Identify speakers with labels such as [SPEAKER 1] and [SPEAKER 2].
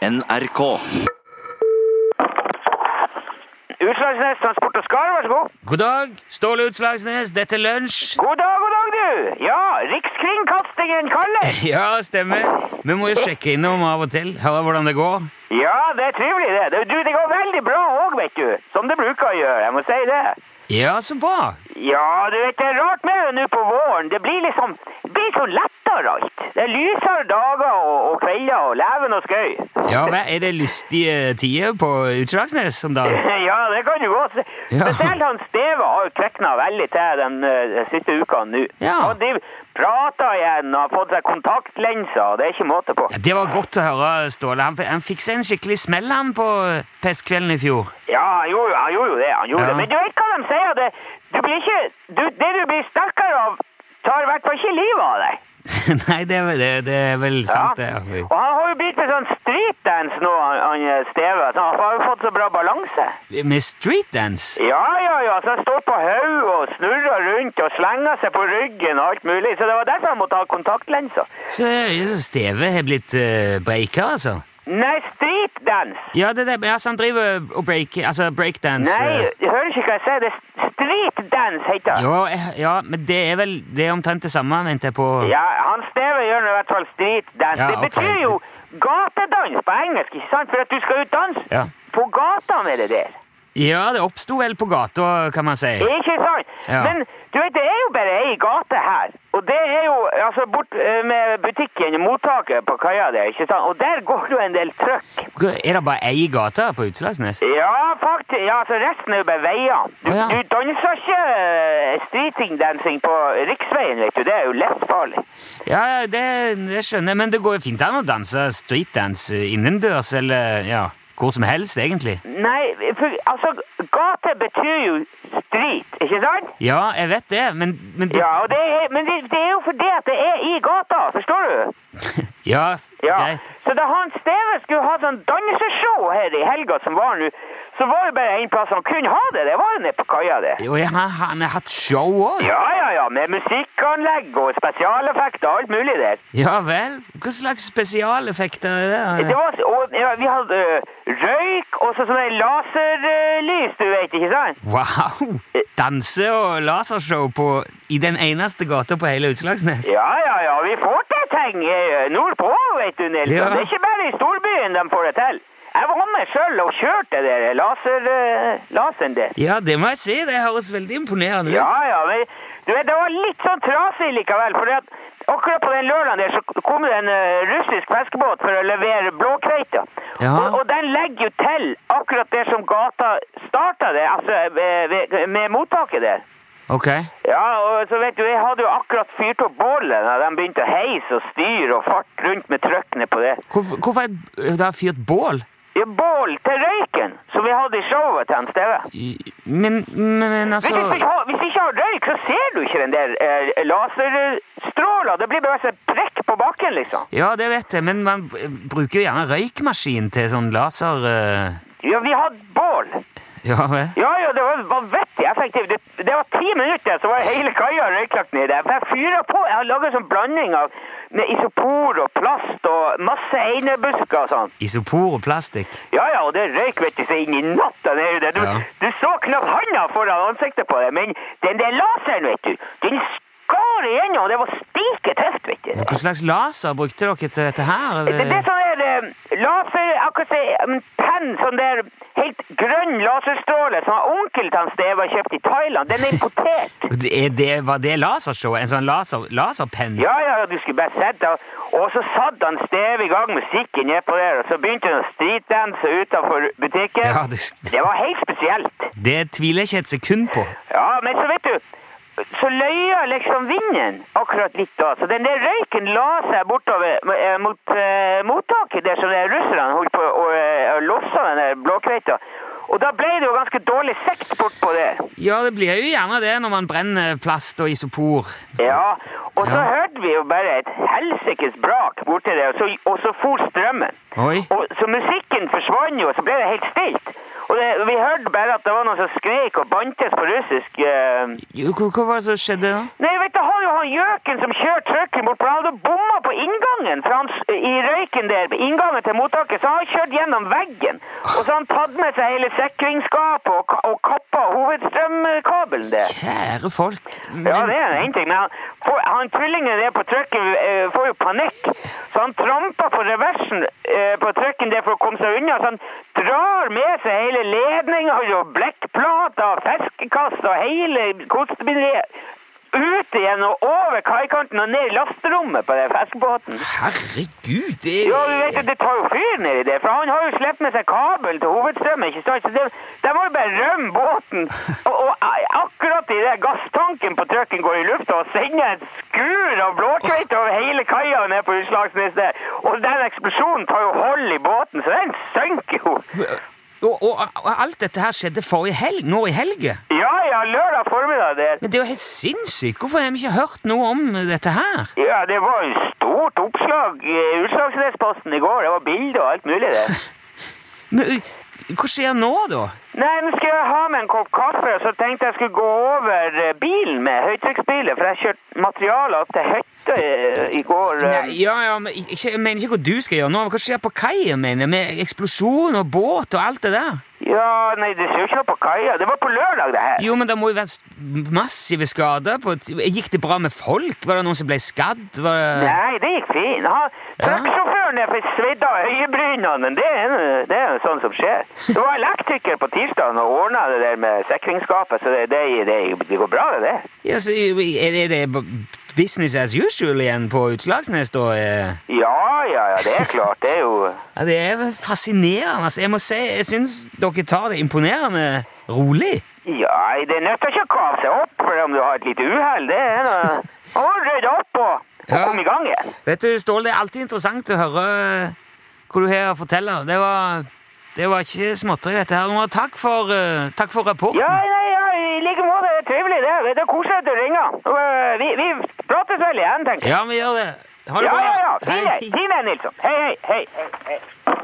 [SPEAKER 1] NRK.
[SPEAKER 2] Utslagsnes Transport og Skar, vær så god.
[SPEAKER 3] God dag, Ståle Utslagsnes, dette er lunsj.
[SPEAKER 2] God dag, god dag, du. Ja, Rikskringkastingen kaller.
[SPEAKER 3] Ja, stemmer. Eh, Vi må jo sjekke innom av og til, høre hvordan det går.
[SPEAKER 2] Ja, det er trivelig, det. det. Du, det går veldig bra òg, vet du. Som det bruker å gjøre, jeg må si det.
[SPEAKER 3] Ja, så bra.
[SPEAKER 2] Ja, du vet, det er rart med det nå på våren. Det blir liksom det blir så lettere alt. Det er lysere dager og, og kvelder og leven og skøy.
[SPEAKER 3] Ja, hva er det lystige tider på Utslagsnes om dagen?
[SPEAKER 2] Ja, det kan du godt.
[SPEAKER 3] Ja.
[SPEAKER 2] Spesielt han Steve har jo kvekna veldig til den eh, siste uka nå.
[SPEAKER 3] Ja.
[SPEAKER 2] Han driver prater igjen og har fått seg kontaktlenser, og det er ikke måte på.
[SPEAKER 3] Ja, det var godt å høre, Ståle. Han, han fikk seg en skikkelig smell han på pestkvelden i fjor.
[SPEAKER 2] Ja, han gjorde, han gjorde jo det. han gjorde
[SPEAKER 3] Ja.
[SPEAKER 2] det. Men du vet hva de sier? Det, du blir ikke, du, det du blir sterkere av, tar i hvert fall ikke livet av deg.
[SPEAKER 3] Nei, det, er vel- det, det er vel sant, det.
[SPEAKER 2] Ja. Og han har jo blitt med sånn streetdance nå, han, han eh, Steve. Så han har jo fått så bra balanse.
[SPEAKER 3] Med streetdance?
[SPEAKER 2] Ja, ja, ja. Så han står på haug og snurrer rundt og slenger seg på ryggen og alt mulig. Så det var derfor han måtte ha kontaktlenser.
[SPEAKER 3] Så så Steve har blitt eh, breaker, altså?
[SPEAKER 2] Nei, streetdance!
[SPEAKER 3] Ja, det, det, altså han driver og break, altså breakdance. eh.
[SPEAKER 2] Nei, hører du ikke hva jeg sier? Det er streetdance, heter det.
[SPEAKER 3] Jo, eh, ja, men det er vel det er omtrent det samme, venter jeg på.
[SPEAKER 2] Ja, han Steve gjør nå i hvert fall streetdance.
[SPEAKER 3] Ja,
[SPEAKER 2] det
[SPEAKER 3] ok.
[SPEAKER 2] betyr jo gatedans på engelsk, ikke sant? For at du skal ut danse
[SPEAKER 3] Ja.
[SPEAKER 2] på gata med det der.
[SPEAKER 3] Ja, det oppsto vel på gata, kan man si.
[SPEAKER 2] Ikke sant?
[SPEAKER 3] Ja.
[SPEAKER 2] Men du vet, det er jo bare ei gate her. Og det er jo altså bort eh, med butikken, mottaket på kaia der, ikke sant? Og der går det jo en del trøkk.
[SPEAKER 3] Er det bare ei gate på Utslagsnes?
[SPEAKER 2] Ja, faktisk. Ja, altså resten er jo bare veier. Du,
[SPEAKER 3] Å, ja.
[SPEAKER 2] du danser ikke eh, streetdancing på riksveien, vet du. Det er jo livsfarlig.
[SPEAKER 3] Ja, ja, det, det skjønner jeg, men det går jo fint an å danse streetdance innendørs, eller ja, hvor som helst, egentlig.
[SPEAKER 2] Nei, for, altså, gate betyr jo street, ikke sant?
[SPEAKER 3] Ja, jeg vet det, men, men
[SPEAKER 2] Ja, og det er, men det, det er jo fordi at det er i gata, forstår du?
[SPEAKER 3] ja,
[SPEAKER 2] Ja.
[SPEAKER 3] greit.
[SPEAKER 2] Så da han Steve skulle ha sånn danseshow her i helga som var nå, så var det bare en plass han kunne ha det. Det var jo nede på kaia, det.
[SPEAKER 3] Og ja, han, han har hatt show òg?
[SPEAKER 2] Ja, ja, ja, med musikkanlegg og spesialeffekter og alt mulig der.
[SPEAKER 3] Ja vel? Hva slags spesialeffekter er
[SPEAKER 2] Det
[SPEAKER 3] det?
[SPEAKER 2] var, og, ja, vi hadde ø, røyk og så sånne laserlys, du vet, ikke sant?
[SPEAKER 3] Wow! Danse- og lasershow på, i den eneste gata på hele Utslagsnes?
[SPEAKER 2] Ja, ja, ja, vi får til ting eh, nordpå, vet du, Nilsson.
[SPEAKER 3] Ja.
[SPEAKER 2] Det er ikke bare i storbyen de får det til. Jeg var med selv og kjørte det der laser, eh, laseren der.
[SPEAKER 3] Ja, det må jeg si. Det høres veldig imponerende ut.
[SPEAKER 2] Ja, ja, men du vet, det var litt sånn trasig likevel, for at akkurat på den lørdagen der så kom det en eh, russisk fiskebåt for å levere blåkveita.
[SPEAKER 3] Ja.
[SPEAKER 2] Og, og den legger jo til akkurat der som gata startet det, altså eh, ved, med mottaket der.
[SPEAKER 3] Ok.
[SPEAKER 2] Ja, og så vet du, jeg hadde jo akkurat fyrt opp bålet da de begynte å heise og styre og fart rundt med trøkkene på det.
[SPEAKER 3] Hvorfor, hvorfor er det fyrt bål?
[SPEAKER 2] Ja, bål til røyken, som vi hadde i showet til han Steve.
[SPEAKER 3] I- Men, men, men
[SPEAKER 2] Hvis vi
[SPEAKER 3] altså
[SPEAKER 2] ikke har, hvis vi ikke har røyk, så ser du ikke den der eh, laserstråla. Det blir bare en prekk på bakken, liksom.
[SPEAKER 3] Ja, det vet jeg, men man b- bruker jo gjerne røykmaskin til sånn laser... eh,
[SPEAKER 2] Ja, vi hadde bål.
[SPEAKER 3] Ja, vel?
[SPEAKER 2] Ja, ja, det var vanvittig effektivt. Det, det var ti minutter, så var hele kaia røyklagt ned der. For jeg fyrer på. Jeg har laget sånn blanding av med isopor og plast og masse einebusker og sånn.
[SPEAKER 3] Isopor og plastikk.
[SPEAKER 2] Ja, ja, og det røyk, vet du, så inn i natta, det er jo det. Du,
[SPEAKER 3] Ja.
[SPEAKER 2] du så knapt handa foran ansiktet på deg, men den der laseren, vet du, den skar igjennom, og det var stiketøft, vet du.
[SPEAKER 3] Hva slags laser brukte dere til dette her?
[SPEAKER 2] Det, det er sånn der eh, laser, akkurat det, en penn, sånn der helt grønn laserstråle som han onkel til han Steve har kjøpt i Thailand, den er importert.
[SPEAKER 3] Det- er det, var det lasershow? En sånn laser, laserpenn?
[SPEAKER 2] Ja, ja, ja, du skulle bare sett det. Og så satt han Steve i gang musikken nedpå der, og så begynte han å streetdanse utenfor butikken.
[SPEAKER 3] Ja, det,
[SPEAKER 2] Det var helt spesielt.
[SPEAKER 3] det tviler jeg ikke et sekund på.
[SPEAKER 2] Ja, men så vet du, så løyer liksom vinden akkurat litt da. Så den der røyken la seg bortover eh, mot eh, mottaket der som de russerne holdt på å eh, å losse den der blåkveita. Og da ble det jo ganske dårlig sikt bortpå der.
[SPEAKER 3] Ja, det blir jo gjerne det når man brenner plast og isopor.
[SPEAKER 2] Ja, og så
[SPEAKER 3] Ja.
[SPEAKER 2] hørte vi jo bare et helsikes brak borti der, og så, og så for strømmen.
[SPEAKER 3] Oi.
[SPEAKER 2] Og, så musikken forsvant jo, og så ble det helt stilt. Og det, vi hørte bare at det var noen som skrek og bantes på russisk. Eh,
[SPEAKER 3] Jo, Hva hva var det som skjedde da?
[SPEAKER 2] Nei, vet du, han var jo han gjøken som kjørte trucken bort, for han hadde bomma på inngangen for han, s- i røyken der, inngangen til mottaket, så han kjørte gjennom veggen. Og så har han tatt med seg hele sikringsskapet og, ka- og kappa hovedstrømkabelen der.
[SPEAKER 3] Kjære folk.
[SPEAKER 2] Ja, det er en ting, men han, for, han tvillingen der på trucken eh, får jo panikk. Så han tramper på reversen eh, på trucken der for å komme seg unna. Så han drar med seg hele ledninga og blekkplater og fiskekast og hele kostebinderiet ut igjen og over kaikanten og ned i lasterommet på den fiskebåten.
[SPEAKER 3] Herregud, det
[SPEAKER 2] Ja, du vet jo, Det tar jo fyr nedi der, for han har jo sluppet med seg kabel til hovedstrømmen. ikke sant? Så det, De må jo bare rømme båten. Og, og eh, akkurat idet gasstanken på trucken går i lufta og sender et skur av blåkveite over hele kaia ned på Utslagsnes der, og den eksplosjonen tar jo hold i båten, så den synker jo.
[SPEAKER 3] Og, og, og alt dette her skjedde forrige helg, nå i helge.
[SPEAKER 2] Ja ja, lørdag formiddag der.
[SPEAKER 3] Men det er jo helt sinnssykt! Hvorfor har vi ikke hørt noe om dette her?
[SPEAKER 2] Ja, det var jo stort oppslag i Utslagsnesposten i går. Det var bilder og alt mulig der.
[SPEAKER 3] Men, ø, hva skjer nå, da?
[SPEAKER 2] Nei, nå skal jeg ha med en kopp kaffe, og så tenkte jeg skulle gå over eh, bilen med høytrykksbilen, for jeg kjørte materialer til hytta eh, i går. eh.
[SPEAKER 3] Nei, ja, ja, men ikke, Jeg mener ikke hva du skal gjøre nå, men hva skjer på kaia, mener jeg, med eksplosjon og båt og alt det der?
[SPEAKER 2] Ja, nei, det ser jo ikke noe på kaia. Det var på lørdag, det her.
[SPEAKER 3] Jo, men det må jo være s- massive skader på et- Gikk det bra med folk? Var det noen som ble skadd? Var det...
[SPEAKER 2] Nei, det gikk fint. Han- Trucksjåføren der fikk svidd av øyebrynene, men det er, en- det er jo sånn som skjer. Det var elektriker på tirsdagen og ordna det der med sikringsskapet, så det, det, det, det går bra, det. det.
[SPEAKER 3] Ja, så, er det, er det b- business as usual igjen på Utslagsnes, da? eh?
[SPEAKER 2] Ja, ja, ja, det er klart. Det er jo
[SPEAKER 3] Ja, det er fascinerende. Altså, jeg må si, jeg syns dere tar det imponerende rolig.
[SPEAKER 2] Ja, det nytter ikke å kave seg opp for om du har et lite uhell. Det er noe å rydde opp og, og
[SPEAKER 3] Ja.
[SPEAKER 2] komme i gang igjen.
[SPEAKER 3] Vet du, Ståle, det er alltid interessant å høre eh, hva du har å fortelle. Det var, det var ikke småtteri, dette her. Men takk for, eh, takk for rapporten.
[SPEAKER 2] Ja, nei, ja, i like måte. Det er trivelig, det. Det er koselig at du ringer. Og, eh, Vi, vi prates vel igjen, tenker jeg.
[SPEAKER 3] Ja, vi gjør det. Ha det
[SPEAKER 2] Ja,
[SPEAKER 3] bra.
[SPEAKER 2] ja, ja. Fin
[SPEAKER 3] Hei.
[SPEAKER 2] deg. Fin deg, Nilsson. Hei, hei, hei. hei, hei.